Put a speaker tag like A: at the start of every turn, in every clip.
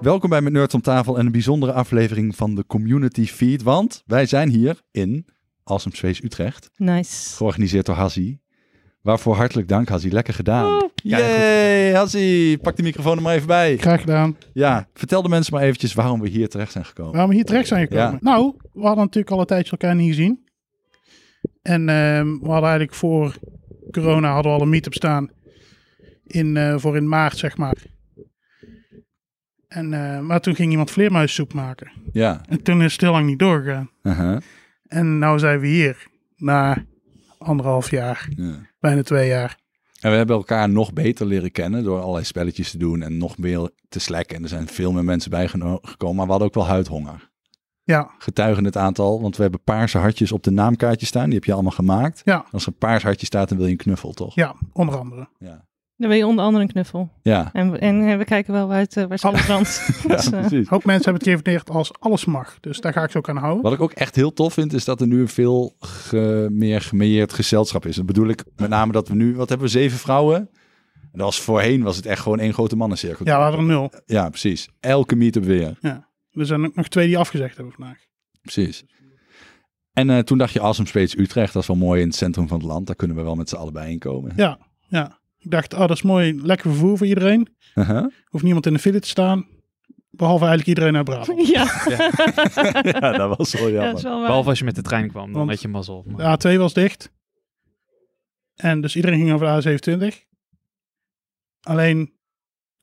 A: Welkom bij Met Nerds om tafel en een bijzondere aflevering van de Community Feed, want wij zijn hier in Awesome Space Utrecht,
B: Nice.
A: georganiseerd door Hassie. Waarvoor hartelijk dank Hassie, lekker gedaan.
B: Woe.
A: Jee, Hassie, pak de microfoon er maar even bij.
C: Graag gedaan.
A: Ja, vertel de mensen maar eventjes waarom we hier terecht zijn gekomen.
C: Waarom we hier terecht zijn gekomen?
A: Ja.
C: Nou, we hadden natuurlijk al een tijdje elkaar niet gezien. En ehm, we hadden eigenlijk voor corona hadden we al een meet-up staan. In, eh, voor in maart, zeg maar. En, eh, maar toen ging iemand vleermuissoep maken.
A: Ja,
C: En toen is het heel lang niet doorgegaan.
A: aha,
C: En nou zijn we hier. Na anderhalf jaar,
A: ja.
C: bijna twee jaar.
A: En we hebben elkaar nog beter leren kennen door allerlei spelletjes te doen en nog meer te slacken. En er zijn veel meer mensen bijgekomen, maar we hadden ook wel huidhonger.
C: Ja,
A: Getuigen het aantal, want we hebben paarse hartjes op de naamkaartje staan. Die heb je allemaal gemaakt.
C: ja,
A: Als er een paars hartje staat, dan wil je een knuffel, toch?
C: ja, onder andere.
A: Ja,
B: Dan wil je onder andere een knuffel.
A: ja.
B: En, en eh, we kijken wel uit waar ze
C: Alles.
B: brandt. Dus,
A: Ja,
B: eh,
A: precies.
C: Een hoop mensen hebben het gedefinieerd als alles mag. Dus daar ga ik ze ook aan houden.
A: Wat ik ook echt heel tof vind, is dat er nu een veel ge- meer gemeerd gezelschap is. Dat bedoel ik met name dat we nu, wat hebben we, zeven vrouwen? En dat was voorheen, was het echt gewoon één grote mannencirkel.
C: Ja, we hadden er nul.
A: Ja, precies. Elke meet-up weer.
C: Ja. Er zijn ook nog twee die afgezegd hebben vandaag.
A: Precies. En eh, toen dacht je, Awesome Space Utrecht, dat is wel mooi in het centrum van het land. Daar kunnen we wel met z'n allebei in komen.
C: Ja, ja. Ik dacht, ah, dat is mooi. Lekker vervoer voor iedereen.
A: Uh-huh.
C: Hoeft niemand in de file te staan. Behalve eigenlijk iedereen uit Brabant.
B: ja,
A: ja, dat was wel
B: dat is
A: jammer.
B: wel waar.
D: Behalve als je met de trein kwam, dan
C: Want-
D: had je mazzel. Maar-
C: De A2 was dicht. En dus iedereen ging over de A27. Alleen,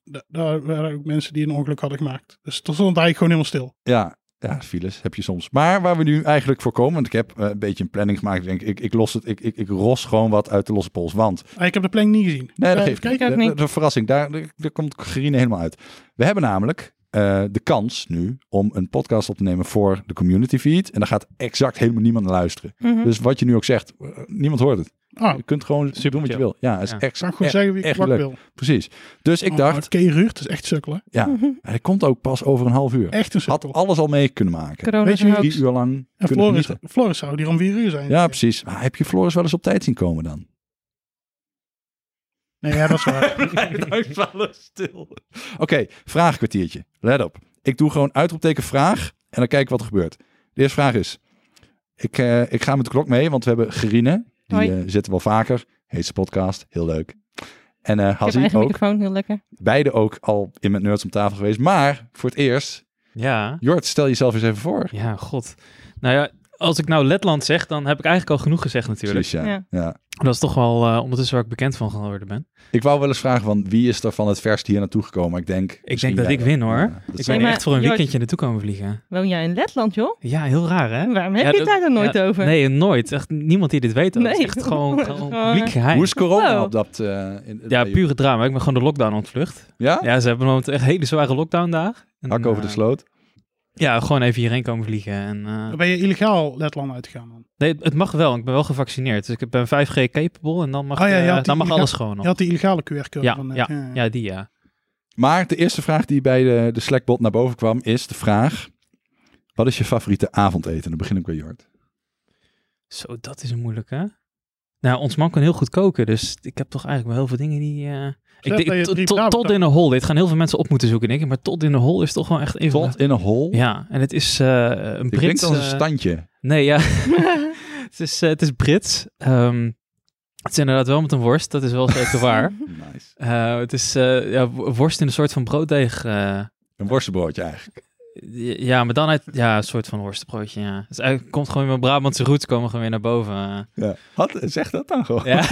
C: da- daar waren ook mensen die een ongeluk hadden gemaakt. Dus toen stond het eigenlijk gewoon helemaal stil.
A: Ja, ja, files heb je soms. Maar waar we nu eigenlijk voor komen, want ik heb eh, een beetje een planning gemaakt. Ik denk, ik, ik los het, ik, ik, ik ros gewoon wat uit de losse pols. Want,
C: Ah, ik heb de planning niet gezien.
A: nee, dat
C: Even
A: geeft
C: kijken.
B: Ik ook
A: de,
B: niet.
A: de- de verrassing, daar, daar daar komt Gerine helemaal uit. We hebben namelijk eh, de kans nu om een podcast op te nemen voor de community feed. En daar gaat exact helemaal niemand naar luisteren.
B: Mhm.
A: Dus wat je nu ook zegt, eh, niemand hoort het.
C: Ah,
A: Je kunt gewoon
D: Super
A: doen wat je
D: chill.
A: wil. Ja, is
D: Ja.
A: exact.
C: ik zou gewoon
A: echt-
C: zeggen wie ik
A: E-, echt
C: wat
A: leuk.
C: wil.
A: Precies. Dus ik
C: Oh,
A: dacht,
C: Oké, Ruurt, dat is echt sukkelen.
A: ja,
B: Mhm.
A: hij komt ook pas over een half uur.
C: Echt een
A: Had
C: sukkel.
A: alles al mee kunnen maken.
B: Corona
C: Weet
B: is
C: je
B: een
C: wie-
A: Drie
B: hoax.
A: uur lang
C: En
A: kunnen
C: Floris,
A: genieten.
C: Floris zou hier om vier uur zijn.
A: Ja, precies. Maar heb je Floris wel eens op tijd zien komen dan?
C: Nee, ja, dat is waar.
A: Blijf alles stil. Oké, vraagkwartiertje. Let op. Ik doe gewoon uitroepteken vraag en dan kijk ik wat er gebeurt. De eerste vraag is, ik, eh, ik ga met de klok mee, want we hebben Gerine. Die
B: Hoi.
A: eh, zitten wel vaker. Heet zijn podcast. Heel leuk. En eh
B: Ik heb mijn
A: Hazzie
B: eigen
A: ook.
B: microfoon, heel lekker.
A: Beide ook al in Met Nerds om tafel geweest. Maar voor het eerst,
D: Ja,
A: Jort, stel jezelf eens even voor.
D: ja, god. Nou ja, als ik nou Letland zeg, dan heb ik eigenlijk al genoeg gezegd natuurlijk.
A: Precies, ja. Ja.
D: Dat is toch wel eh, ondertussen waar ik bekend van geworden ben.
A: Ik wou wel eens vragen van wie is er van het verst hier naartoe gekomen. Ik denk.
D: Ik denk dat ik win hoor. ik ben
B: zou-
D: echt voor een
B: Maar, Jort-
D: weekendje naartoe komen vliegen.
B: Woon jij in Letland, joh?
D: Ja, heel raar hè?
B: Waarom heb
D: Ja,
B: je het
D: dat-
B: daar dan nooit
D: ja,
B: over?
D: Nee, nooit. Echt niemand die dit weet. ook. Het
B: Nee. eh,
D: is echt gewoon, gewoon publiek
A: Hoe
D: geheim.
A: is corona
B: Wow.
A: op dat? eh, in-
D: Ja,
A: bij-
D: pure drama. Ik ben gewoon de lockdown ontvlucht.
A: Ja?
D: Ja, ze hebben momenteel echt een hele zware lockdown daar. En,
A: Hak over de
D: eh,
A: sloot.
D: Ja, gewoon even hierheen komen vliegen. En, eh,
C: Dan ben je illegaal Letland uitgegaan dan.
D: nee, het mag wel. Ik ben wel gevaccineerd. Dus ik ben 5G capable en dan mag,
C: Oh ja, je
D: eh,
C: had die-
D: dan mag
C: je
D: alles gewoon.
C: Je
D: nog.
C: had die illegale QR-code.
D: Ja,
C: van, net,
D: Ja, die ja.
A: Maar de eerste vraag die bij de, de Slackbot naar boven kwam is de vraag: wat is je favoriete avondeten? Dan begin ik bij Jort.
D: Zo, dat is een moeilijke. Nou, ons man kan heel goed koken, dus ik heb toch eigenlijk wel heel veel dingen die... eh, ik
C: dat
D: denk,
C: je
D: tot-
C: drie
D: tot-
C: vrouwen
D: tot in de hol. Dit gaan heel veel mensen op moeten zoeken, denk ik. Maar tot in de hol is toch wel echt een van
A: Tot in een hol.
D: de- Ja, en het is eh, een
A: Ik denk
D: Brits...
A: als een
D: eh,
A: standje.
D: nee, ja. het, is, eh, het is Brits. Ehm, het is inderdaad wel met een worst, dat is wel zeker waar.
A: Nice.
D: Eh, het is eh, ja, wo- worst in een soort van brooddeeg. eh,
A: Een worstenbroodje eigenlijk.
D: ja, maar dan uit... Ja, een soort van worstenbroodje, ja. Dus eigenlijk komt gewoon weer mijn Brabantse roots komen gewoon weer naar boven. eh. Ah,
A: Ja. Had, zeg dat dan gewoon.
D: Ja.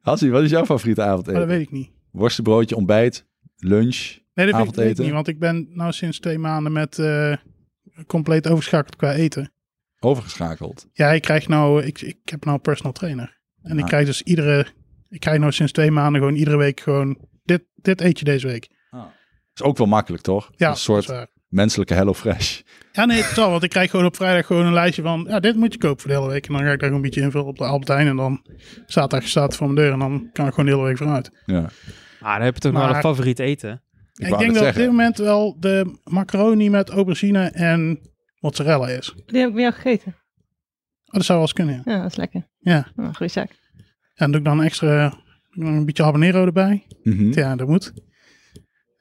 A: Hassie, wat is jouw favoriete
C: Maar Oh, dat
A: avondeten?
C: weet ik niet.
A: Worstenbroodje, ontbijt, lunch.
C: Nee, dat weet ik- weet ik
A: Avondeten.
C: niet. Want ik ben nou sinds twee maanden met eh, compleet overschakeld qua eten.
A: Overgeschakeld.
C: Ja, ik krijg nou, ik, ik heb nou een personal trainer. En ik
A: Ah.
C: krijg dus iedere, ik krijg nou sinds twee maanden gewoon iedere week gewoon, dit, dit eet je deze week.
A: Is ook wel makkelijk, toch?
C: Ja,
A: een soort
C: dat is waar.
A: menselijke Hello Fresh.
C: Ja, nee, het zal, want ik krijg gewoon op vrijdag gewoon een lijstje van, ja, dit moet je kopen voor de hele week. En dan ga ik daar gewoon een beetje invullen op de Albert Heijn. En dan staat daar staat voor mijn deur en dan kan ik gewoon de hele week vooruit.
A: Ja.
D: Ah, dan heb je toch nog wel
C: Maar-
D: een favoriet eten.
C: Ik, denk
A: wou net
C: dat op dit
A: zeggen.
C: moment wel de macaroni met aubergine en mozzarella is. Oh,
B: Die heb ik bij jou gegeten.
C: dat zou wel eens kunnen, ja.
B: Ja, dat is lekker.
C: ja.
B: Oh, goeie zaak.
C: En doe ik dan extra, doe ik dan een beetje habanero erbij.
A: Mhm.
C: Ja, dat moet.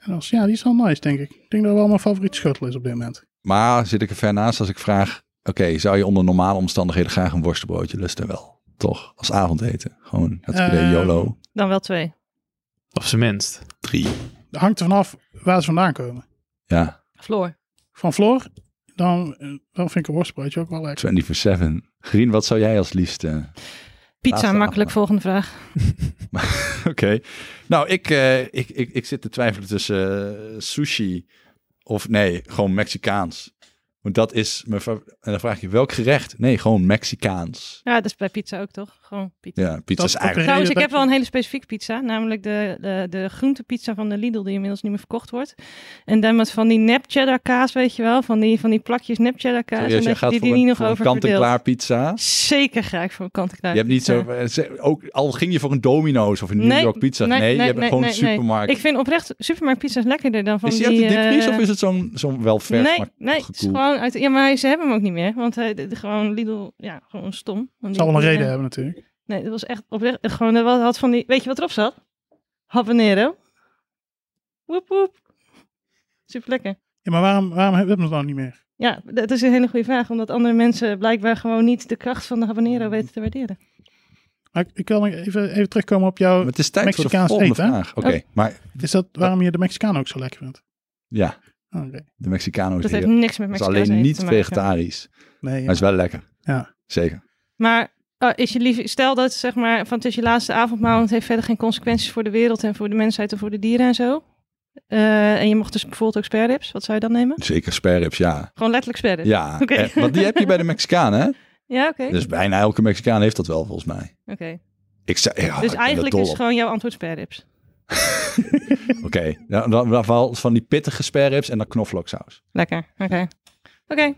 C: En als, ja, die is wel nice, denk ik. Ik denk dat wel mijn favoriete shuttle is op dit moment.
A: Maar zit ik er ver naast als ik vraag: oké, zou je onder normale omstandigheden graag een worstenbroodje lusten? Wel, toch? Als avondeten. Gewoon het idee
C: Ehm,
A: YOLO.
B: Dan wel twee.
D: Op zijn minst.
A: Drie.
C: Dat hangt er vanaf waar ze vandaan komen.
A: Ja,
B: Floor.
C: Van Floor, dan, eh, dan vind ik een worstbroodje ook wel lekker.
A: 24-7. Green, wat zou jij als liefste?
B: Pizza,
A: Laatste
B: makkelijk.
A: avond.
B: Volgende vraag.
A: Oké. Nou, ik, eh, ik, ik, ik zit te twijfelen tussen eh, sushi of nee, gewoon Mexicaans. Want dat is mijn fa- En dan vraag je welk gerecht? Nee, gewoon Mexicaans.
B: Ja, dat is bij pizza ook toch? Gewoon pizza.
A: Ja, pizza
C: Dat
A: is
C: is ook
A: eigenlijk.
B: Trouwens, ik
C: dat
B: heb
C: je-
B: wel een hele specifieke pizza. Namelijk de, de, de groentepizza van de Lidl, die inmiddels niet meer verkocht wordt. En dan met van die nep cheddar kaas, weet je wel. Van die, van die plakjes nep cheddar kaas.
A: Serieus,
B: en
A: jij
B: dat je
A: gaat
B: die,
A: voor
B: die
A: een,
B: niet nog
A: voor een
B: over verdeelt.
A: kant-en-klaar pizza.
B: Zeker ga ik voor een kant-en-klaar
A: Je hebt niet
B: pizza.
A: zo. eh, ze- Ook, al ging je voor een Domino's of een New
B: Nee,
A: York pizza. Nee,
B: nee,
A: je
B: nee,
A: hebt
B: nee,
A: gewoon
B: nee,
A: een
B: nee.
A: supermarkt.
B: Ik vind oprecht supermarktpizza's lekkerder dan van
A: is die,
B: die...
A: uit de diepvries
B: eh,
A: of is het zo'n zo'n wel vers,
B: nee,
A: maar
B: nee, het
A: gekoeld?
B: is gewoon uit. Ja, maar ze hebben hem ook niet meer, want hij, de- de- gewoon Lidl, ja, gewoon stom. Want die-
C: zal wel een
B: die-
C: reden
B: eh,
C: hebben natuurlijk.
B: Nee, dat was echt oprecht. Gewoon dat had van die. Weet je wat erop zat? Habanero. Woep woep. Super lekker.
C: Ja, maar waarom, waarom hebben we hem dan niet meer?
B: Ja, dat is een hele goede vraag, omdat andere mensen blijkbaar gewoon niet de kracht van de
A: Mm.
B: habanero weten te waarderen.
C: Maar ik, ik wil nog even, even terugkomen op jou.
A: Maar het is tijd
C: Mexicaans
A: voor de volgende
C: eten, hè?
A: vraag. Oké, maar
C: Is dat waarom je de Mexicaan ook zo lekker vindt?
A: ja,
C: Oké.
A: de Mexicano is
B: Dat
A: hier.
B: heeft niks met
A: Het is
B: Mexicaans
A: alleen
B: eten
A: niet
B: te maken.
A: vegetarisch.
C: Nee, ja.
A: Maar het is wel lekker.
C: Ja.
A: Zeker.
B: Maar eh, is je lief, stel dat zeg maar van het is je laatste avondmaal en het heeft verder geen consequenties voor de wereld en voor de mensheid en voor de dieren en zo. Eh, en je mocht dus bijvoorbeeld ook sperrips. Wat zou je dan nemen?
A: Zeker sperrips, ja.
B: Gewoon letterlijk sperrips.
A: Ja,
B: Oké.
A: eh, want die heb je bij de Mexicaan, hè?
B: Ja, oké.
A: Dus bijna elke Mexicaan heeft dat wel, volgens mij.
B: Oké.
A: Ik zei, ja, ik ben
B: dus
A: er
B: eigenlijk
A: dol
B: is
A: op.
B: gewoon jouw antwoord sperrips.
A: Oké, nou, dan dan wel van die pittige sperrips en dan knoflooksaus.
B: Lekker. Oké. Oké.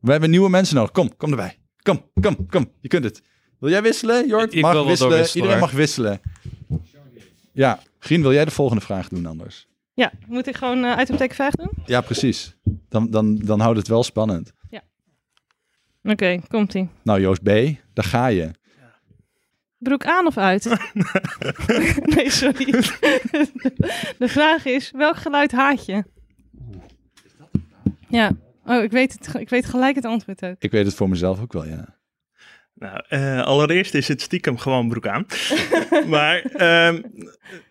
A: We hebben nieuwe mensen nodig. Kom, kom erbij. Kom, kom, kom. Je kunt het. Wil jij wisselen, Jort?
D: Ik- ik
A: mag
D: wil wel
A: wisselen.
D: doorwisselen,
A: Iedereen
D: hoor.
A: mag wisselen. Ja, Grien, wil jij de volgende vraag doen anders?
B: Ja, moet ik gewoon uit item teken 5 doen?
A: Ja, precies. Dan, dan, dan houdt het wel spannend.
B: Oké, komt ie.
A: Nou, Joost B., daar ga je.
B: Broek aan of uit? nee, sorry. de vraag is, welk geluid haat je? Ja. Oh, ik weet, het, ik weet gelijk het antwoord ook.
A: Ik weet het voor mezelf ook wel, ja.
E: Nou, eh, allereerst is het stiekem gewoon broek aan. maar ehm,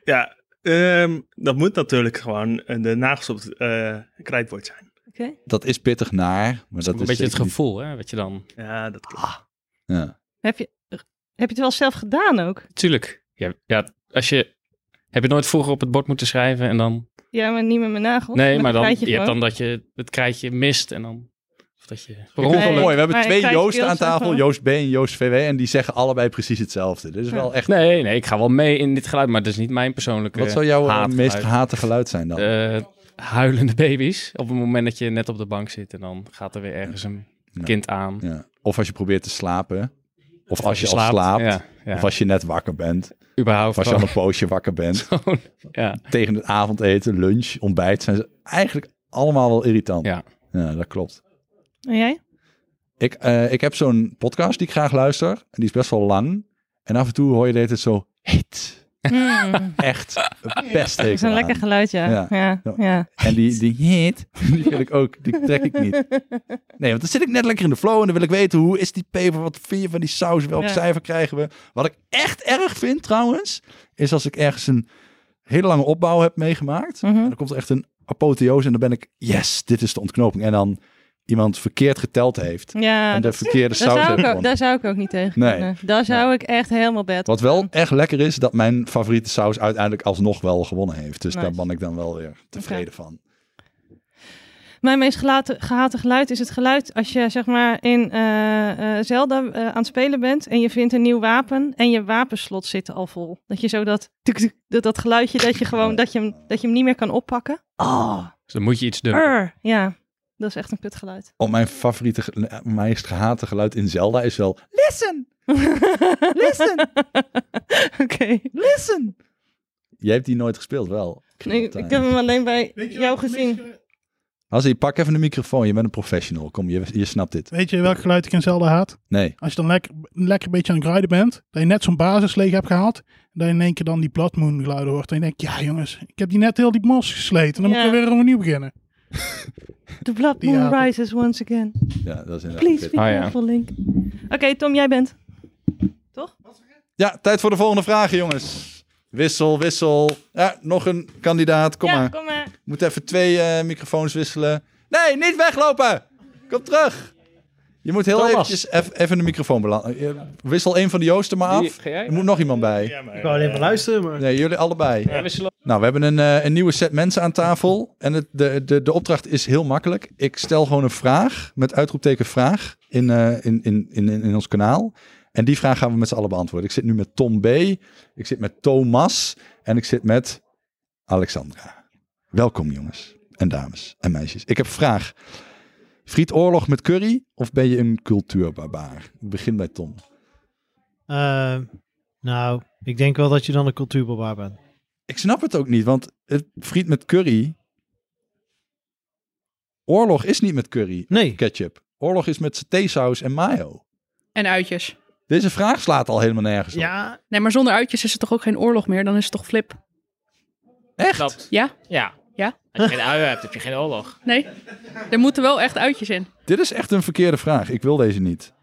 E: ja, ehm, dat moet natuurlijk gewoon eh, de nagels op het eh, krijtbord zijn.
B: Oké.
A: Dat is pittig naar, maar dat
D: een
A: is
D: beetje het
A: zeker niet-
D: gevoel, hè, wat je dan...
E: Ja, dat klopt.
A: Ja.
B: Heb je, heb je het wel zelf gedaan ook?
D: Tuurlijk. Ja, ja, als je... Heb je nooit vroeger op het bord moeten schrijven en dan...
B: Ja, maar niet met mijn nagels.
D: nee,
B: met
D: maar
B: een
D: dan, je
B: krijtje
D: hebt
B: gewoon.
D: dan dat je het krijtje mist en dan... Of dat je... per
A: Ik vind het wel
D: ongeluk-
B: Nee,
A: mooi. We hebben
B: maar
A: twee
B: ik krijg
A: Joosten aan
B: skills
A: tafel,
B: ervan.
A: Joost B en Joost VW, en die zeggen allebei precies hetzelfde. Dus
B: Ja.
A: wel echt.
D: Nee, nee, ik ga wel mee in dit geluid, maar dat is niet mijn persoonlijke
A: Wat zou jouw eh,
D: haat
A: meest gehate geluid zijn dan?
D: Eh, huilende baby's. Op het moment dat je net op de bank zit en dan gaat er weer ergens een
A: Ja.
D: kind aan.
A: Ja. Of als je probeert te slapen, of als je, al
D: slaapt.
A: slaapt,
D: Ja, ja.
A: of als je net wakker bent,
D: überhaupt.
A: of als je al een poosje wakker bent.
D: gewoon- ja.
A: Tegen het avondeten, lunch, ontbijt zijn ze eigenlijk allemaal wel irritant.
D: Ja.
A: ja dat klopt.
B: En jij?
A: Ik, eh, ik heb zo'n podcast die ik graag luister. En die is best wel lang. En af en toe hoor je de hele tijd zo hit.
B: Mm,
A: Echt best
B: dat is een lekker geluid, ja.
A: Ja.
B: Ja, ja.
A: Ja. En die, die hit, die wil ik ook, die trek ik niet. Nee, want dan zit ik net lekker in de flow en dan wil ik weten hoe is die peper, wat vind je van die saus, welk
B: Ja.
A: cijfer krijgen we. Wat ik echt erg vind trouwens, is als ik ergens een hele lange opbouw heb meegemaakt.
B: Mhm.
A: En dan komt er echt een apotheose en dan ben ik, yes, dit is de ontknoping. En dan iemand verkeerd geteld heeft.
B: Ja,
A: en de
B: dat-
A: verkeerde
B: daar,
A: saus heeft
B: zou ik ook,
A: gewonnen.
B: daar zou ik ook niet tegen
A: Nee.
B: kunnen. Daar zou ik echt helemaal bad
A: Wat
B: op
A: wel
B: gaan.
A: echt lekker is, dat mijn favoriete saus uiteindelijk alsnog wel gewonnen heeft. Dus
B: Nice.
A: daar ben ik dan wel weer tevreden van.
B: Mijn meest gelate- gehate geluid is het geluid als je zeg maar in eh, eh, Zelda eh, aan het spelen bent en je vindt een nieuw wapen en je wapenslot zit al vol. Dat je zo dat, tuk, tuk, dat, dat geluidje dat je gewoon dat je, hem, dat je hem niet meer kan oppakken. Oh,
D: Dus dan moet je iets doen.
B: Urgh. ja, dat is echt een kutgeluid.
A: Oh, mijn favoriete, ge- eh, meest gehate geluid in Zelda is wel... Listen! Listen!
B: Oké,
A: Listen! Jij hebt die nooit gespeeld, wel.
B: Nee, ik heb hem alleen bij jou gezien.
A: Hazzy, pak even de microfoon. Je bent een professional. Kom, je, je snapt dit.
C: Weet je welk geluid ik in Zelda haat?
A: Nee.
C: Als je dan lekker, lekker een beetje aan het griden bent, dat je net zo'n basis leeg hebt gehaald, en dat je in één keer dan die Blood Moon geluiden hoort. En je denkt, ja jongens, ik heb die net heel diep mos gesleten. Dan
B: Ja.
C: moet ik weer opnieuw beginnen.
B: The blood
C: Die
B: moon
C: haat ik.
B: rises once again.
A: Ja, dat is inderdaad
B: Please
A: dit.
B: be
D: Ah, ja.
B: careful, Link. Oké, Tom, jij bent.
A: Ja, tijd voor de volgende vragen, jongens. Wissel, wissel. Ja, nog een kandidaat. Kom
B: ja,
A: maar.
B: kom maar.
A: Moet even twee eh, microfoons wisselen. Nee, niet weglopen. Kom terug. Je moet heel
D: Thomas.
A: eventjes eff- even de microfoon belanden. Wissel een van de Joosten maar af.
D: ga jij?
A: Er moet nog iemand bij.
E: Ja, maar,
F: Ik wou alleen maar
E: eh,
F: luisteren, maar...
A: Nee, jullie allebei. Nou, we hebben een, eh, een nieuwe set mensen aan tafel. En het, de, de, de opdracht is heel makkelijk. Ik stel gewoon een vraag met uitroepteken vraag in, eh, in, in, in, in, in ons kanaal. En die vraag gaan we met z'n allen beantwoorden. Ik zit nu met Tom B. Ik zit met Thomas. En ik zit met Alexandra. Welkom jongens en dames en meisjes. Ik heb een vraag. Friet oorlog met curry of ben je een cultuurbarbaar? Ik begin bij Tom.
F: Ehm, nou, ik denk wel dat je dan een cultuurbarbaar bent.
A: Ik snap het ook niet, want het friet met curry... Oorlog is niet met curry.
F: Nee.
A: ketchup. Oorlog is met satésaus en mayo.
G: En uitjes.
A: Deze vraag slaat al helemaal nergens op.
F: Ja,
G: Nee, maar zonder uitjes is het toch ook geen oorlog meer? Dan is het toch flip?
A: Echt?
H: Klopt.
G: Ja?
H: Ja.
G: Ja?
H: Als je geen uien hebt, heb je geen oorlog.
G: Nee? Er moeten wel echt uitjes in.
A: Dit is echt een verkeerde vraag. Ik wil deze niet.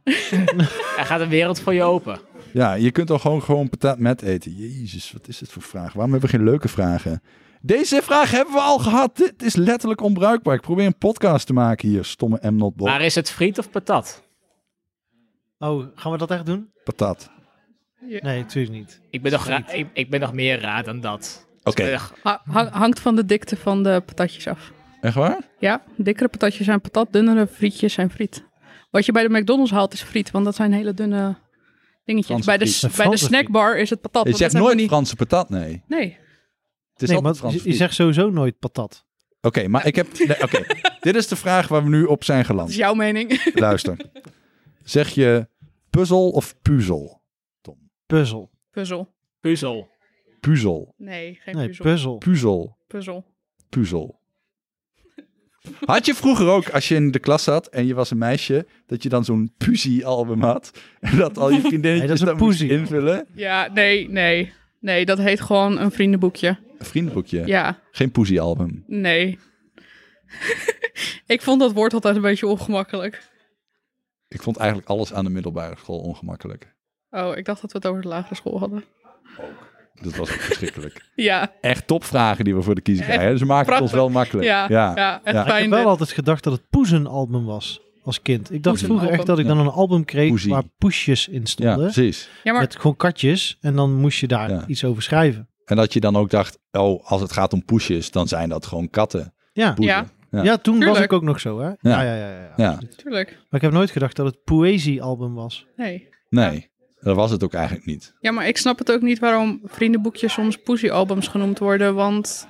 H: Er gaat een wereld voor je open.
A: Ja, je kunt al gewoon, gewoon patat met eten. Jezus, wat is dit voor vraag? Waarom hebben we geen leuke vragen? Deze vraag hebben we al gehad. Dit is letterlijk onbruikbaar. Ik probeer een podcast te maken hier. Stomme m not Bob.
H: Maar is het friet of patat?
F: oh, gaan we dat echt doen?
A: Patat.
F: Nee, natuurlijk niet.
H: Ik ben nog, ra- ik, ik ben nog meer raar dan dat.
A: Oké.
H: Ik ben nog-
G: Ha- hang- hangt van de dikte van de patatjes af.
A: Echt waar?
G: Ja, dikkere patatjes zijn patat, dunnere frietjes zijn friet. Wat je bij de McDonald's haalt is friet, want dat zijn hele dunne dingetjes.
A: Franse
G: Bij de,
A: friet.
G: s-
F: Een
G: bij de
F: Franse
G: snackbar is het patat.
A: Je
G: want dat
A: zegt
G: zijn
A: nooit
G: van
A: Franse patat, nee.
G: die- Nee,
A: Het is
F: nee,
A: altijd
F: maar
A: Frans.
F: je, je zegt sowieso nooit patat.
A: Oké, maar ik heb... Nee, Oké, dit is de vraag waar we nu op zijn
G: dat is
A: geland.
G: jouw mening.
A: Luister. Zeg je puzzel of puzzel?
F: Puzzel.
G: puzzel.
H: Puzzel.
A: Puzzel.
G: Nee, geen
F: Nee,
G: puzzel.
F: puzzel.
A: Puzzel.
G: puzzel.
A: puzzel. Had je vroeger ook, als je in de klas zat en je was een meisje, dat je dan zo'n puzzie-album had? En dat al je vriendinnetjes
F: Nee, dat is een
A: dan moest
F: poezie.
A: invullen?
G: Ja, nee, nee. Nee, dat heet gewoon een vriendenboekje.
A: Een vriendenboekje.
G: ja.
A: Geen poezie-album.
G: Nee. ik vond dat woord altijd een beetje ongemakkelijk.
A: Ik vond eigenlijk alles aan de middelbare school ongemakkelijk.
G: Oh, ik dacht dat we het over de lagere school hadden.
A: Dat was ook verschrikkelijk.
G: Ja,
A: Echt topvragen die we voor de kiezer
G: Echt
A: krijgen. Dus Ze maken het ons
G: prachtig.
A: wel makkelijk.
G: ja, ja, echt
A: Ja.
F: Ja, ik
G: fijn.
F: heb
G: dit.
F: wel altijd gedacht dat het poezenalbum was als kind. Ik dacht vroeger echt
G: Poezenalbum.
F: dat ik dan een album kreeg
A: Poezie.
F: waar poesjes in
A: Ja,
F: stonden.
A: precies.
G: Ja, maar
F: Met gewoon katjes. En dan moest je daar
A: Ja.
F: iets over schrijven.
A: En dat je dan ook dacht, oh, als het gaat om poesjes, dan zijn dat gewoon katten.
F: Ja,
A: Poezen.
G: Ja.
A: ja.
F: ja. toen was
G: Tuurlijk.
F: ik ook nog zo, hè? Ja, ja, ja. ja, ja.
A: Ja.
G: tuurlijk.
F: Maar ik heb nooit gedacht dat het poëziealbum was.
G: Nee.
A: Nee, dat was het ook eigenlijk niet.
G: Ja, maar ik snap het ook niet waarom vriendenboekjes soms poesiealbums genoemd worden. Want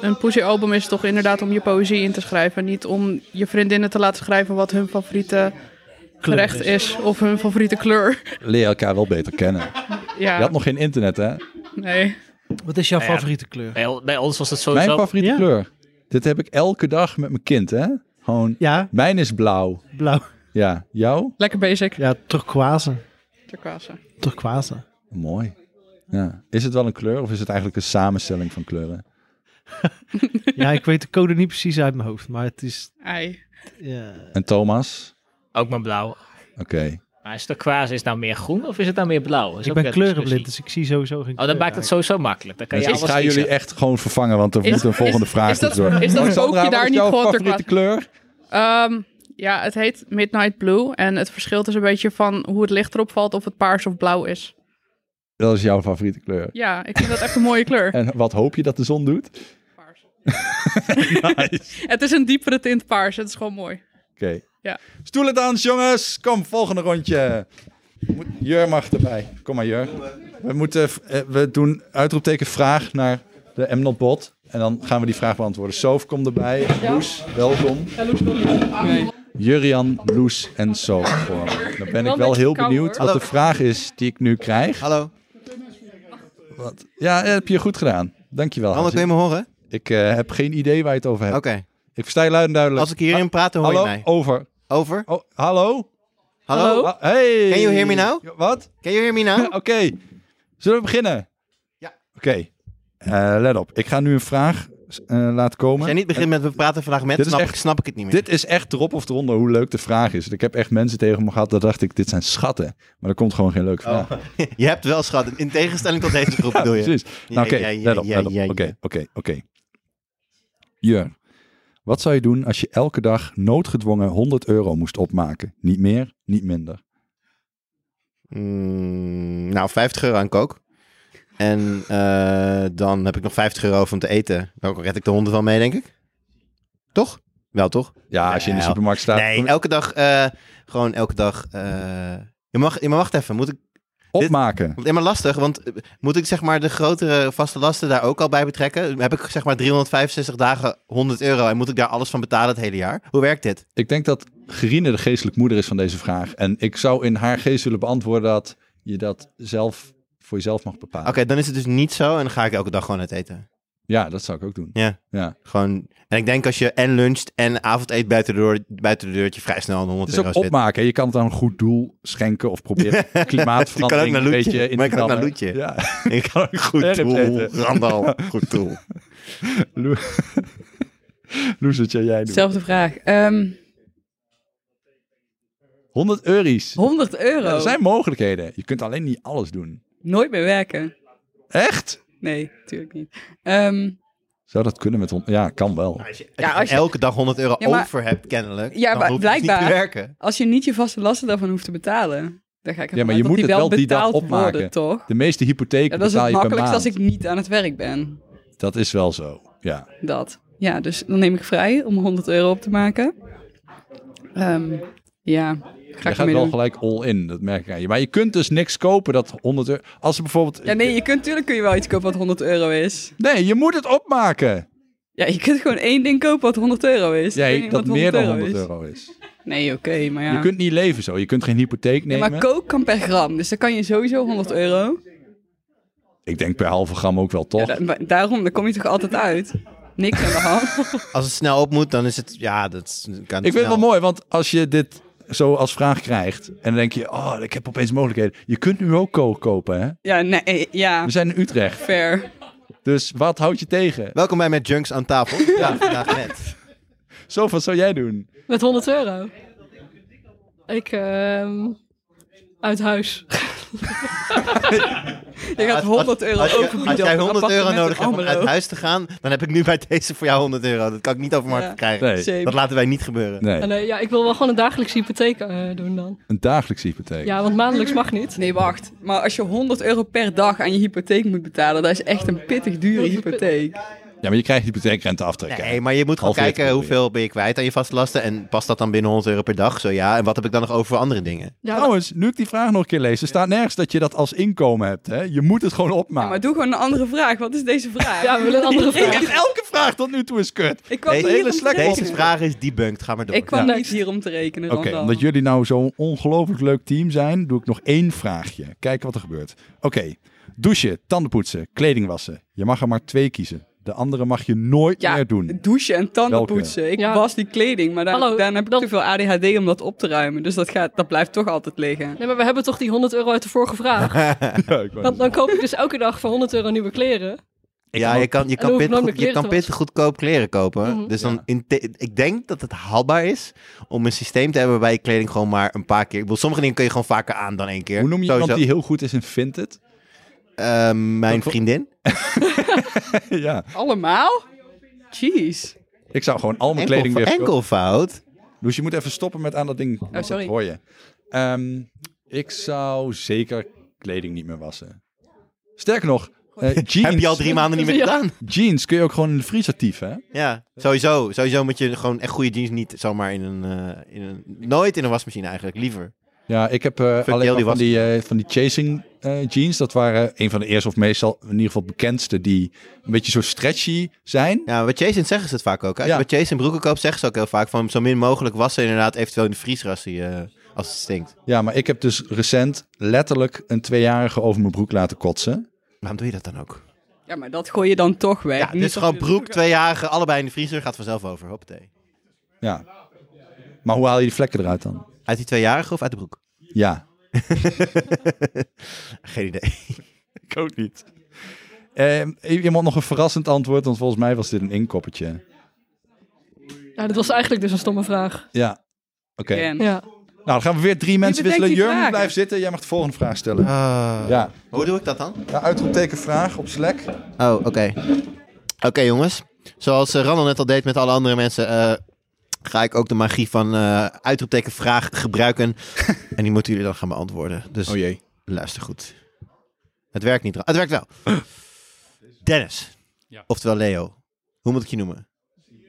G: een poesiealbum is toch inderdaad om je poëzie in te schrijven. Niet om je vriendinnen te laten schrijven wat hun favoriete gerecht
F: is.
G: is. Of hun favoriete kleur.
A: Leer elkaar wel beter kennen. Je
G: Ja,
A: had nog geen internet, hè?
F: Oh,
G: nee.
F: Wat is jouw
H: Nou ja,
F: favoriete kleur?
H: Bij, bij ons was het
A: Mijn
H: sowieso...
A: favoriete
F: Ja.
A: kleur. Dit heb ik elke dag met mijn kind, hè? Gewoon.
F: Ja,
A: Mijn is blauw.
F: blauw.
A: Ja, jou?
G: Lekker basic.
F: Ja, turquoise.
G: Turquoise.
F: Turquoise.
A: Mooi. Ja. Is het wel een kleur of is het eigenlijk een samenstelling van kleuren?
F: Ja, ik weet de code niet precies uit mijn hoofd, maar het is...
G: Ei.
F: ja.
A: En Thomas?
H: Ook maar blauw.
A: Oké.
H: Maar is de kwaas is het nou meer groen of is het nou meer blauw? Dat is
F: ik
H: ook
F: ben
H: weer een
F: kleurenblind,
H: discussie.
F: dus ik zie sowieso geen
H: Oh, dan maakt het sowieso makkelijk. Dan kan je
A: Dus ik
H: alles
A: ga
H: kiezen.
A: jullie echt gewoon vervangen, want er
G: Is-
A: moet een
G: is-
A: volgende vraag
G: is dat-
A: tussendoor.
G: is dat
A: Alexandra,
G: boekje
A: wat
G: daar
A: is
G: niet
A: jouw
G: gewoon ter
A: favoriete kleur?
G: Ehm, ja, het heet Midnight Blue. En het verschilt is een beetje van hoe het licht erop valt of het paars of blauw is.
A: Dat is jouw favoriete kleur.
G: Ja, ik vind dat echt een mooie
I: Eh.
G: kleur.
A: En wat hoop je dat de zon doet?
G: Paars.
A: Nice.
G: Het is een diepere tint paars. Het is gewoon mooi.
A: Oké.
G: Ja.
A: Stoelendans, jongens. Kom, volgende rondje. Moet- Jur mag erbij. Kom maar, Jur. We, moeten, eh, we doen uitroepteken vraag naar de MNOT-bot. En dan gaan we die vraag beantwoorden. Soof, kom erbij. Loes, welkom. Jurian, Loes en Soof. voor me. Dan
G: Wel
A: ben ik
G: een
A: wel
G: beetje
A: heel
G: koud,
A: benieuwd
G: hoor.
A: wat de vraag is die ik nu krijg.
I: Hallo,
A: Wat? Ja, eh, heb je goed gedaan. Dankjewel.
I: allemaal kun
A: Hazes.
I: je me horen?
A: Ik eh, heb geen idee waar je het over hebt.
I: Oké.
A: Ik versta je luid en duidelijk.
I: Als ik hierin praat, dan hoor je
A: hallo,
I: mij.
A: over.
I: Over.
A: Oh, hallo?
I: Hallo.
A: Ah, hey!
I: Can you hear me now?
A: Ja, Wat? Eh,
I: Can you hear me now?
A: Oké. Zullen we beginnen?
I: Ja.
A: Oké. Eh, let op. Ik ga nu een vraag eh, laten komen.
I: Als jij niet begint met we praten vandaag met,
A: Dit is
I: snap, ik,
A: echt-
I: snap ik het niet meer.
A: Dit is echt erop of eronder hoe leuk de vraag is. Ik heb echt mensen tegen me gehad, dat dacht ik, dit zijn schatten. Maar er komt gewoon geen leuke vraag.
I: Je hebt wel schat, in tegenstelling tot deze groep Oh, bedoel je.
A: Precies. Nou, oké,
I: Ja, ja,
A: let op,
I: ja,
A: let op.
I: ja, ja.
A: Oké, oké, oké. Jur, wat zou je doen als je elke dag noodgedwongen 100 euro moest opmaken? Niet meer, niet minder.
I: Mm, nou, 50 euro aan kook. En eh, dan heb ik nog 50 euro van te eten. Dan red ik de honden wel mee, denk ik. Toch? Wel, toch?
A: Ja, als je in de
I: Ja.
A: supermarkt staat.
I: Nou, Nee, elke dag, eh, gewoon elke dag. eh, je mag, je mag wacht even. Moet ik,
A: opmaken.
I: want, ja, maar lastig, want eh, moet ik zeg maar de grotere vaste lasten daar ook al bij betrekken? Heb ik zeg maar 365 dagen 100 euro en moet ik daar alles van betalen het hele jaar? Hoe werkt dit?
A: Ik denk dat Gerine de geestelijk moeder is van deze vraag. En ik zou in haar geest willen beantwoorden dat je dat zelf voor jezelf mag bepalen.
I: Oké, dan is het dus niet zo en dan ga ik elke dag gewoon uit eten.
A: Ja, dat zou ik ook doen.
I: Ja.
A: ja.
I: Gewoon, en ik denk als je en luncht en avond eet buiten de, deur, buiten de deur, dat je vrij snel aan de 100
A: Het is
I: euro
A: ook
I: zit.
A: opmaken. hè. Je kan het aan een goed doel schenken of proberen
I: Je kan ook
A: klimaatverandering
I: naar
A: een
I: Loetje.
A: beetje in
I: Maar
A: te
I: je kan ook naar
A: dammen.
I: Loetje.
A: Ja.
I: Ik kan ook goed
A: Ergens
I: doel.
A: eten.
I: Randal, goed doel.
A: Loes, wat zou jij doen?
J: Zelfde vraag. Ehm,
A: 100 euro's.
J: 100
A: Ja,
J: euro.
A: er zijn mogelijkheden. Je kunt alleen niet alles doen.
J: Nooit meer werken.
A: Echt?
J: Nee, natuurlijk niet. Ehm,
A: Zou dat kunnen met... hon- Ja, kan wel.
I: Als je,
J: Ja, als je-
I: elke dag 100 euro
J: Ja, maar-
I: over hebt, kennelijk.
J: Ja,
I: dan
J: maar
I: hoef je dus
J: blijkbaar.
I: niet te werken.
J: als je niet je vaste lasten daarvan hoeft te betalen, dan ga ik ervan
A: Ja, maar
J: uit
A: je
J: dat
A: moet
J: die
A: het
J: wel
A: wel die dag
J: betaald
A: opmaken.
J: worden, toch?
A: De meeste hypotheken
J: Ja, dat is
A: betaal
J: het
A: je per
J: makkelijkst
A: maand.
J: als ik niet aan het werk ben.
A: Dat is wel zo, ja.
J: Dat. Ja, dus dan neem ik vrij om 100 euro op te maken. Ehm, ja, ga
A: Je
J: ik
A: gaat
J: ermee
A: wel
J: doen.
A: gelijk all in, dat merk ik aan je. Maar je kunt dus niks kopen dat 100 euro... Als er bijvoorbeeld...
J: Ja, nee, je kunt, tuurlijk kun je wel iets kopen wat 100 euro is.
A: Nee, je moet het opmaken.
J: Ja, je kunt gewoon één ding kopen wat 100 euro is. Ik weet
A: Jij,
J: niet
A: dat
J: wat
A: meer dan
J: euro
A: 100
J: is.
A: euro is.
J: Nee, oké, maar ja.
A: Je kunt niet leven zo. Je kunt geen hypotheek
J: Ja,
A: nemen.
J: maar kook kan per gram, dus dan kan je sowieso 100 euro.
A: Ik denk per halve gram ook wel,
J: Ja,
A: toch?
J: da- maar daarom, daar kom je toch altijd uit? Niks aan de hand.
I: Als het snel op moet, dan is het... Ja, dat is- kan
A: Ik vind het wel mooi, want als je dit zo als vraag krijgt... en dan denk je, oh, ik heb opeens mogelijkheden. Je kunt nu ook kool kopen, hè?
J: Ja, nee, eh, ja,
A: We zijn in Utrecht,
J: fair.
A: dus wat houd je tegen?
I: Welkom bij Met Junks aan tafel. ja, vandaag net.
A: Zo, wat zou jij doen?
K: Met 100 euro. Ik, ehm, uit huis.
J: Je gaat 100 euro
I: als, je-
J: overbieden.
I: Als jij
J: op een
I: 100 euro
J: appartement
I: nodig
J: in
I: hebt om uit
J: Almelo.
I: huis te gaan, dan heb ik nu bij deze voor jou 100 euro. Dat kan ik niet over mijn hart
J: Ja.
I: krijgen.
A: Nee.
J: Same.
I: Dat laten wij niet gebeuren.
A: Nee,
K: En, eh, ja, ik wil wel gewoon een dagelijkse hypotheek eh, doen dan.
A: een dagelijkse hypotheek.
K: Ja, want maandelijks mag niet.
J: Nee, wacht. Maar als je 100 euro per dag aan je hypotheek moet betalen, dat is echt een pittig dure hypotheek.
A: Ja, maar je krijgt hypotheekrente aftrek.
I: Nee, maar je moet gewoon
A: Half
I: kijken
A: uur
I: hoeveel ben je kwijt aan je vaste lasten. En past dat dan binnen 100 euro per dag? Zo ja. En wat heb ik dan nog over voor andere dingen?
K: Ja,
A: Trouwens, nu ik die vraag nog een keer lees, er staat nergens dat je dat als inkomen hebt. Hè? Je moet het gewoon
J: Ja, Oh, maar
A: opmaken.
J: doe gewoon een andere vraag. Wat is deze vraag?
K: ja, we willen een andere vraag.
A: Ik- elke vraag tot nu toe is kut.
J: ik kwam
I: Deze-
J: hier om te
A: slechte
J: rekenen.
I: Deze vraag is debunked. Ga maar door.
J: Ik kwam
A: Ja.
J: niet hier om te rekenen,
A: Oké,
J: Randal.
A: omdat jullie nou zo'n ongelooflijk leuk team zijn, doe ik nog één vraagje. Kijken wat er gebeurt. Oké, douchen, tanden poetsen, kleding wassen. Je mag er maar twee kiezen. De andere mag je nooit
J: Ja,
A: meer doen.
J: douchen en tanden
A: Welke?
J: poetsen. Ik
K: Ja.
J: was die kleding, maar daar,
K: Hallo,
J: daarna heb ik
K: dat-
J: te veel ADHD om dat op te ruimen. Dus dat, gaat, dat blijft toch altijd liggen.
K: Nee, maar we hebben toch die 100 euro uit de vorige vraag.
A: Ja, ik wou
K: Dan, dan koop ik dus elke dag voor 11 euro nieuwe kleren.
I: ja, Ah, je kan, je
K: dan hoef ik
I: kan, pittig,
K: nooit
I: goed-
K: meer
I: je
K: kleren
I: kan
K: te
I: pittig goedkoop kleren kopen.
K: Mhm.
I: Dus dan in the- ik denk dat het haalbaar is om een systeem te hebben waarbij je kleding gewoon maar een paar keer. Ik bedoel, sommige dingen kun je gewoon vaker aan dan één keer.
A: Hoe noem je
I: Sowieso.
A: iemand die heel goed is in vindt het?
I: Eh, mijn
A: Dat-
I: vriendin.
A: ja,
J: Allemaal? Jeez.
A: ik zou gewoon al mijn kleding
I: Enkel,
A: weer...
I: enkelvoud.
A: Dus je moet even stoppen met aan dat ding. Oh,
J: sorry.
A: hoor je. Ehm, ik zou zeker kleding niet meer wassen. Sterker nog, eh, jeans,
I: Heb je al drie maanden niet meer
K: Ja.
I: gedaan?
A: jeans kun je ook gewoon in de vriezer tieven, hè?
I: Ja, sowieso. Sowieso moet je gewoon echt goede jeans niet zomaar in een, eh, in een... Nooit in een wasmachine eigenlijk, liever.
A: Ja, ik heb eh,
I: Fuck
A: alleen
I: heel
A: maar
I: die
A: van die, eh, van die chasing eh, jeans. Dat waren een van de eerste of meestal in ieder geval bekendste die een beetje zo stretchy zijn.
I: Ja, wat Jason zeggen ze het vaak ook. Als
A: Ja.
I: je bij Jason broeken koopt, zeggen ze ook heel vaak van zo min mogelijk wassen inderdaad eventueel in de vriezer als, die, eh, als het stinkt.
A: Ja, maar ik heb dus recent letterlijk een tweejarige over mijn broek laten kotsen.
I: Waarom doe je dat dan ook?
J: Ja, maar dat gooi je dan toch weg.
I: Ja,
J: Niet
I: dus
J: dat
I: gewoon
J: je-
I: broek, twee jaren, allebei in de vriezer, gaat vanzelf over. Hoppatee.
A: Ja. Maar hoe haal je die vlekken eruit dan?
I: Uit die tweejarige of uit de broek?
A: Ja.
I: Geen idee.
A: Ik ook niet. Ehm, iemand nog een verrassend antwoord, want volgens mij was dit een inkoppertje.
K: Nou, dat was eigenlijk dus een stomme vraag.
A: Ja. Oké.
K: Ja.
A: Nou, dan gaan we weer drie mensen
K: bedenkt
A: wisselen.
K: die
A: Jurgen,
K: vragen?
A: blijf zitten. Jij mag de volgende vraag stellen.
I: Ah.
A: ja.
I: Hoe doe ik dat dan?
A: Ja, uitroepteken vraag op Slack.
I: Oh, oké. Oké, jongens. Zoals eh, Randall net al deed met alle andere mensen, eh, ga ik ook de magie van eh, uitroepteken vraag gebruiken. en die moeten jullie dan gaan beantwoorden. Dus
A: Oh jee.
I: luister goed. Het werkt niet. Ra- Het werkt wel. Dennis. Oftewel Leo. Hoe moet ik je noemen?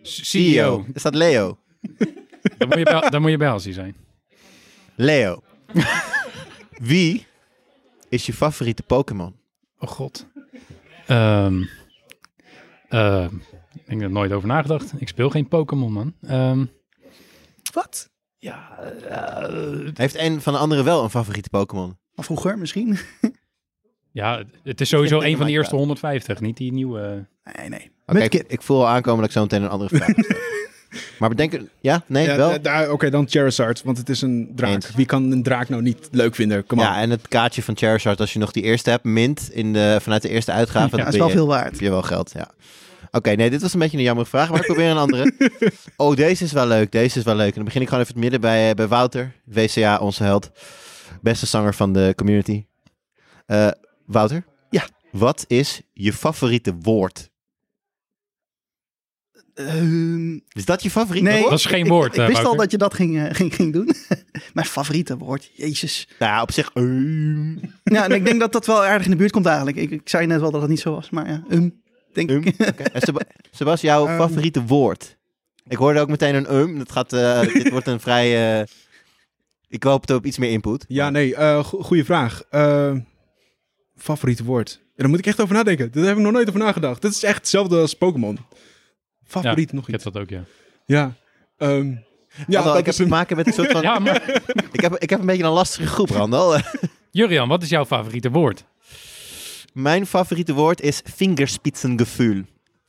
I: CEO. E Is dat Leo?
L: Dan moet je bij, dan moet je bij Alzi zijn.
I: Leo. Wie is je favoriete Pokémon?
L: Oh god. Ehm, ehm, ik heb er nooit over nagedacht. Ik speel geen Pokémon, man. Ehm,
M: Wat?
L: Ja. eh,
I: Heeft een van de anderen wel een favoriete Pokémon?
M: Maar vroeger misschien?
L: ja, het- het is sowieso een van de
M: Minecraft.
L: eerste 150, niet die nieuwe.
M: Nee, nee.
I: Oké, ik, ik voel al aankomen dat ik zo meteen een andere vraag ga stellen. Maar bedenken... Ja? Nee?
M: Ja,
I: wel?
M: da- da- Oké, dan Charizard, want het is een draak. Wie kan een draak nou niet leuk vinden? Come on.
I: Ja, en het kaartje van Charizard, als je nog die eerste hebt, mint in de, vanuit de eerste uitgave.
M: Ja,
I: dan
M: is
I: ben
M: wel
I: je-
M: veel waard.
I: heb je wel geld, ja. Oké, nee, dit was een beetje een jammer vraag, maar ik probeer een andere. Oh, deze is wel leuk, deze is wel leuk. En dan begin ik gewoon even het midden bij, eh, bij Wouter, WCA, onze held. Beste zanger van de community. Eh, Wouter?
M: Ja.
I: Wat is je favoriete woord?
M: Ehm,
I: Is dat je favoriete
M: nee,
I: woord?
M: ik- Ik, ik wist al dat je dat ging, eh, ging, ging doen. Mijn favoriete woord, jezus.
I: Nou ja, op zich... ehm.
M: Ja, en ik denk dat dat wel aardig in de buurt komt eigenlijk. Ik, ik zei net wel dat het niet zo was, maar ja, ehm, denk ik.
I: Um, En Seb- Sebas, jouw
M: Ehm.
I: favoriete woord? Ik hoorde ook meteen een um. Dat gaat, eh, dit wordt een vrij... eh, ik hoop op iets meer input.
M: Ja, nee, eh, go- goede vraag. Eh, favoriete woord. Ja, daar moet ik echt over nadenken. Daar heb ik nog nooit over nagedacht. Dit is echt hetzelfde als Pokémon. Favoriet nog iets.
L: Ik heb dat ook, ja.
M: Ja. ehm, ja,
I: Randal,
M: dat
I: ik heb
M: is
I: te maken met een soort van...
L: Ja,
I: ik, heb, ik heb een beetje een lastige groep, Randal.
L: Jurian, wat is jouw favoriete woord?
I: Mijn favoriete woord is fingerspitsengevoel.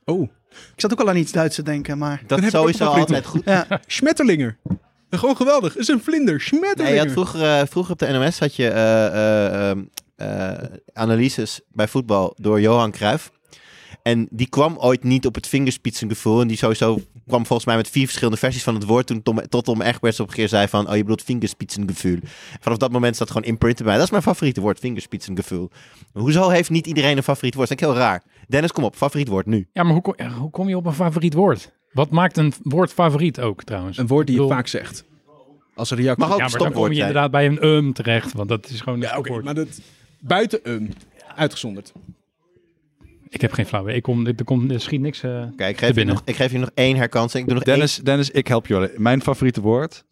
M: Oh.
I: Ik
M: zat ook al aan iets Duits te denken, maar...
I: Dat
M: is
I: is sowieso altijd goed.
M: Ja. Schmetterlinger. Gewoon geweldig. Is een vlinder. Schmetterlinger.
I: Nee, je had vroeger, eh, vroeger op de NMS had je eh, eh, ehm, eh, analyses bij voetbal door Johan Cruijff. En die kwam ooit niet op het vingerspitsengevoel. En die sowieso kwam volgens mij met vier verschillende versies van het woord. Toen Tom, tot Tom Egberts op een keer zei van... Oh, je bedoelt vingerspitsengevoel. Vanaf dat moment staat gewoon imprint bij. Dat is mijn favoriete woord, vingerspitsengevoel. Hoezo heeft niet iedereen een favoriet woord? Dat is eigenlijk heel raar. Dennis, kom op. Favoriet woord nu.
L: Ja, maar hoe kom, ja, hoe kom je op een favoriet woord? Wat maakt een woord favoriet ook, trouwens? Een
M: woord die je vaak zegt. Als een reactie.
L: ja, maar dan kom je inderdaad bij een um terecht, want dat is gewoon een
M: Ja, oké,
L: stopwoord.
M: maar dat... Buiten um. Uitgezonderd.
L: Ik heb geen flauw. idee. Ik kom, dit- er komt er schiet niks. eh
I: Kijk, ik
L: te
I: geef, je
L: binnen.
I: nog, ik geef je nog één herkansing. Ik doe nog
A: Dennis, Dennis, ik help je wel. Mijn favoriete woord.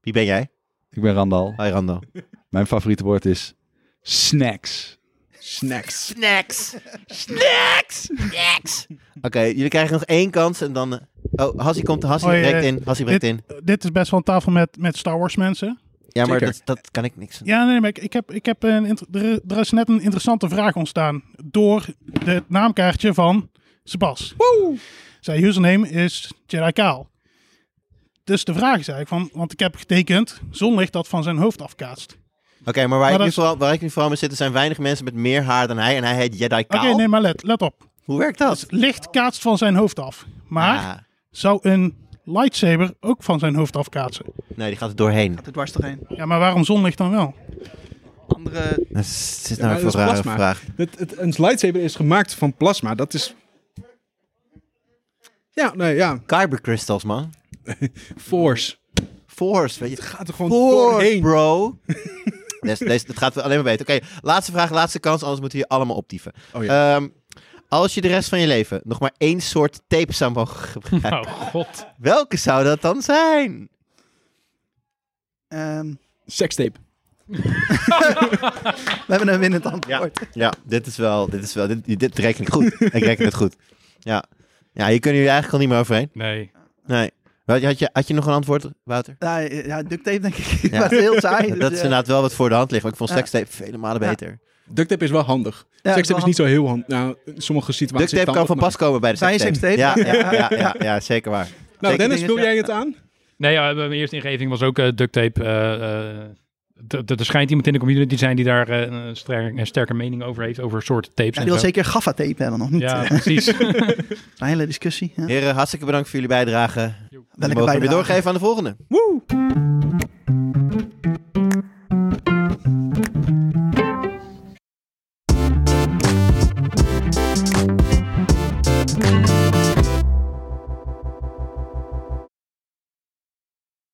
I: Wie ben jij?
A: Ik ben Randal.
I: Hi Randal.
A: Mijn favoriete woord is snacks.
M: Snacks.
I: Snacks. Snacks. Snacks. Oké, jullie krijgen nog één kans en dan... eh, Oh, Hassie komt. Hassie
C: Hoi, eh,
I: breekt in. Hassie breekt
C: dit,
I: in.
C: Dit is best wel een tafel met, met Star Wars mensen.
I: Ja, maar
C: Zeker.
I: dat, dat kan ik niks.
C: Ja, nee, maar ik, ik heb, ik heb een, inter- er, er is net een interessante vraag ontstaan door het naamkaartje van Sebas. Zijn username is Jedi Kaal. Dus de vraag is eigenlijk van, want ik heb getekend zonlicht dat van zijn hoofd afkaatst.
I: Oké, maar waar,
C: Maar
I: ik nu
C: dat-
I: vooral, waar ik nu vooral mee zit, er zijn weinig mensen met meer haar dan hij. En hij heet Jedi
C: Oké,
I: Kaal.
C: nee, maar let, let op.
I: Hoe werkt dat?
C: licht kaatst van zijn hoofd af. Maar
I: Ah.
C: zou een lightsaber ook van zijn hoofd afkaatsen?
I: Nee, die gaat er doorheen.
M: Er dwars doorheen.
C: Ja, maar waarom zonlicht dan wel?
M: Andere...
I: Dat is zit
M: Ja, maar
I: nou even
M: dat
I: een
M: is
I: rare
M: plasma.
I: vraag.
M: Het, het, een lightsaber is gemaakt van plasma. Dat is... Ja, nee, ja.
I: Kyber crystals, man.
M: Force.
I: Force, weet je. Het
M: gaat er gewoon
I: Force,
M: doorheen.
I: bro. Deze, deze, het gaat alleen maar beter. Oké, laatste vraag, laatste kans, anders moeten we hier allemaal optieven.
M: Oh ja.
I: Ehm, als je de rest van je leven nog maar één soort tape zou mogen gebruiken,
L: god.
I: welke zou dat dan zijn?
M: Ehm, Sekstape. We hebben een winnend antwoord.
I: Ja, dit is wel, dit is wel, dit, dit reken ik goed. ik reken het goed. Ja, ja hier kunnen jullie eigenlijk al niet meer overheen.
L: Nee.
I: Nee. Had je, had je, had je nog een antwoord, Wouter?
M: Ja, ja, duct tape denk ik.
I: Ja.
M: Dat is heel saai. dus,
I: Dat is inderdaad wel wat voor de hand ligt. Maar ik vond
M: Ja.
I: sekstape vele malen
M: Ja.
I: beter.
M: Duct tape is wel handig.
I: wel
M: Sex tape is niet zo heel handig. Nou, in sommige situaties...
I: Duct tape kan van pas komen bij de
M: Zijn
I: sex tape. Ja, ja, ja, ja, ja, zeker waar.
M: Nou,
I: Zeker
M: Dennis,
I: dingen-
M: wil jij het aan?
L: Nee, ja, mijn eerste ingeving was ook eh, duct tape. eh, eh, d- d- er schijnt iemand in de community te zijn die daar eh, een, sterk, een sterke mening over heeft, over soorten
N: Ja,
L: tapes. en
N: die wil
L: zo.
N: zeker gaffa-tape hebben, nog niet.
L: Ja,
N: eh.
L: precies.
N: Een hele discussie. Ja.
I: Heren, hartstikke bedankt voor jullie bijdrage. Dan mogen we weer
N: bijdrage.
I: doorgeven aan de volgende.
N: Woe!